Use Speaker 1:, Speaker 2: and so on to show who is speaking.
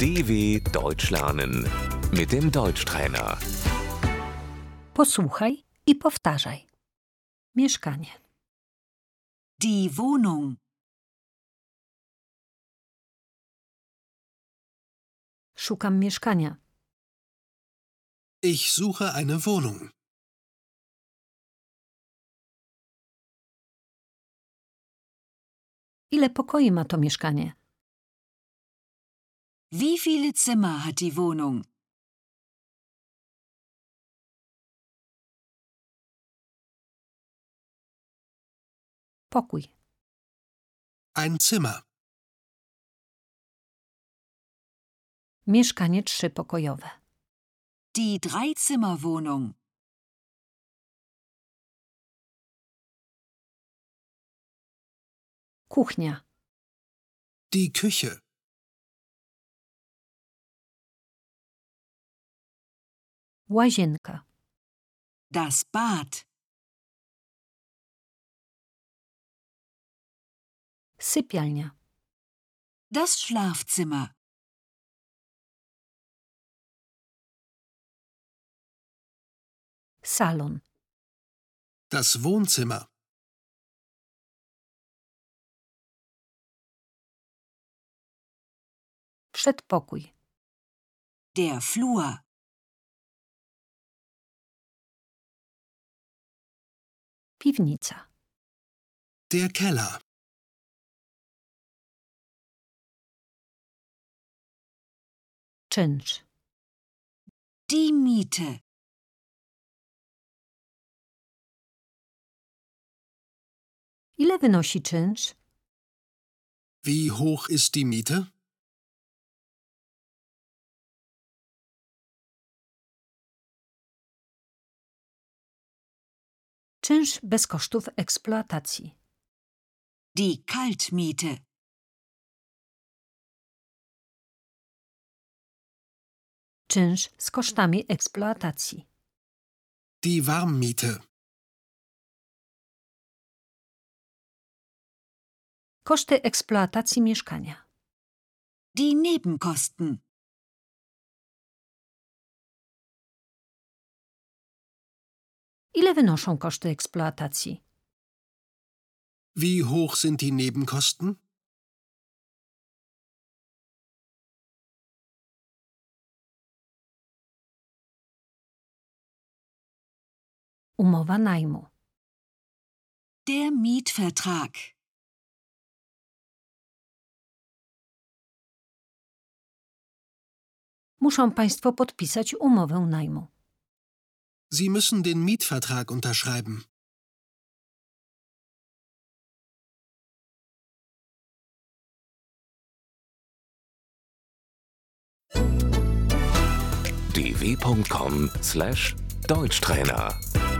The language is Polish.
Speaker 1: DW Deutsch lernen mit dem Deutschtrainer.
Speaker 2: Posłuchaj i powtarzaj. Mieszkanie.
Speaker 3: Die Wohnung,
Speaker 2: Szukam mieszkania.
Speaker 4: Ich suche eine Wohnung.
Speaker 2: Ile pokoi ma to mieszkanie?
Speaker 3: wie viele Zimmer hat die Wohnung?
Speaker 2: Pokój.
Speaker 4: Ein Zimmer.
Speaker 2: Mieszkanie trzypokojowe.
Speaker 3: Die Dreizimmerwohnung,
Speaker 2: Kuchnia.
Speaker 4: Die Küche.
Speaker 2: Łazienka.
Speaker 3: das Bad,
Speaker 2: Sypialnia.
Speaker 3: das Schlafzimmer,
Speaker 2: Salon.
Speaker 4: Das Wohnzimmer.
Speaker 2: Przedpokój.
Speaker 3: der Flur,
Speaker 2: Piwnica.
Speaker 4: Der Keller.
Speaker 2: Czynsz.
Speaker 3: die Miete,
Speaker 2: Ile wynosi czynsz?
Speaker 4: Wie hoch ist die Miete?
Speaker 2: Czynsz bez kosztów eksploatacji.
Speaker 3: die Kaltmiete.
Speaker 2: Czynsz z kosztami eksploatacji.
Speaker 4: Die Warmmiete.
Speaker 2: Koszty eksploatacji mieszkania.
Speaker 3: Die Nebenkosten.
Speaker 2: Ile wynoszą koszty eksploatacji?
Speaker 4: Wie hoch sind die Nebenkosten?
Speaker 2: Umowa najmu.
Speaker 3: Der Mietvertrag.
Speaker 2: Muszą Państwo podpisać umowę najmu.
Speaker 4: Sie müssen den Mietvertrag unterschreiben.
Speaker 1: dw.com/deutschtrainer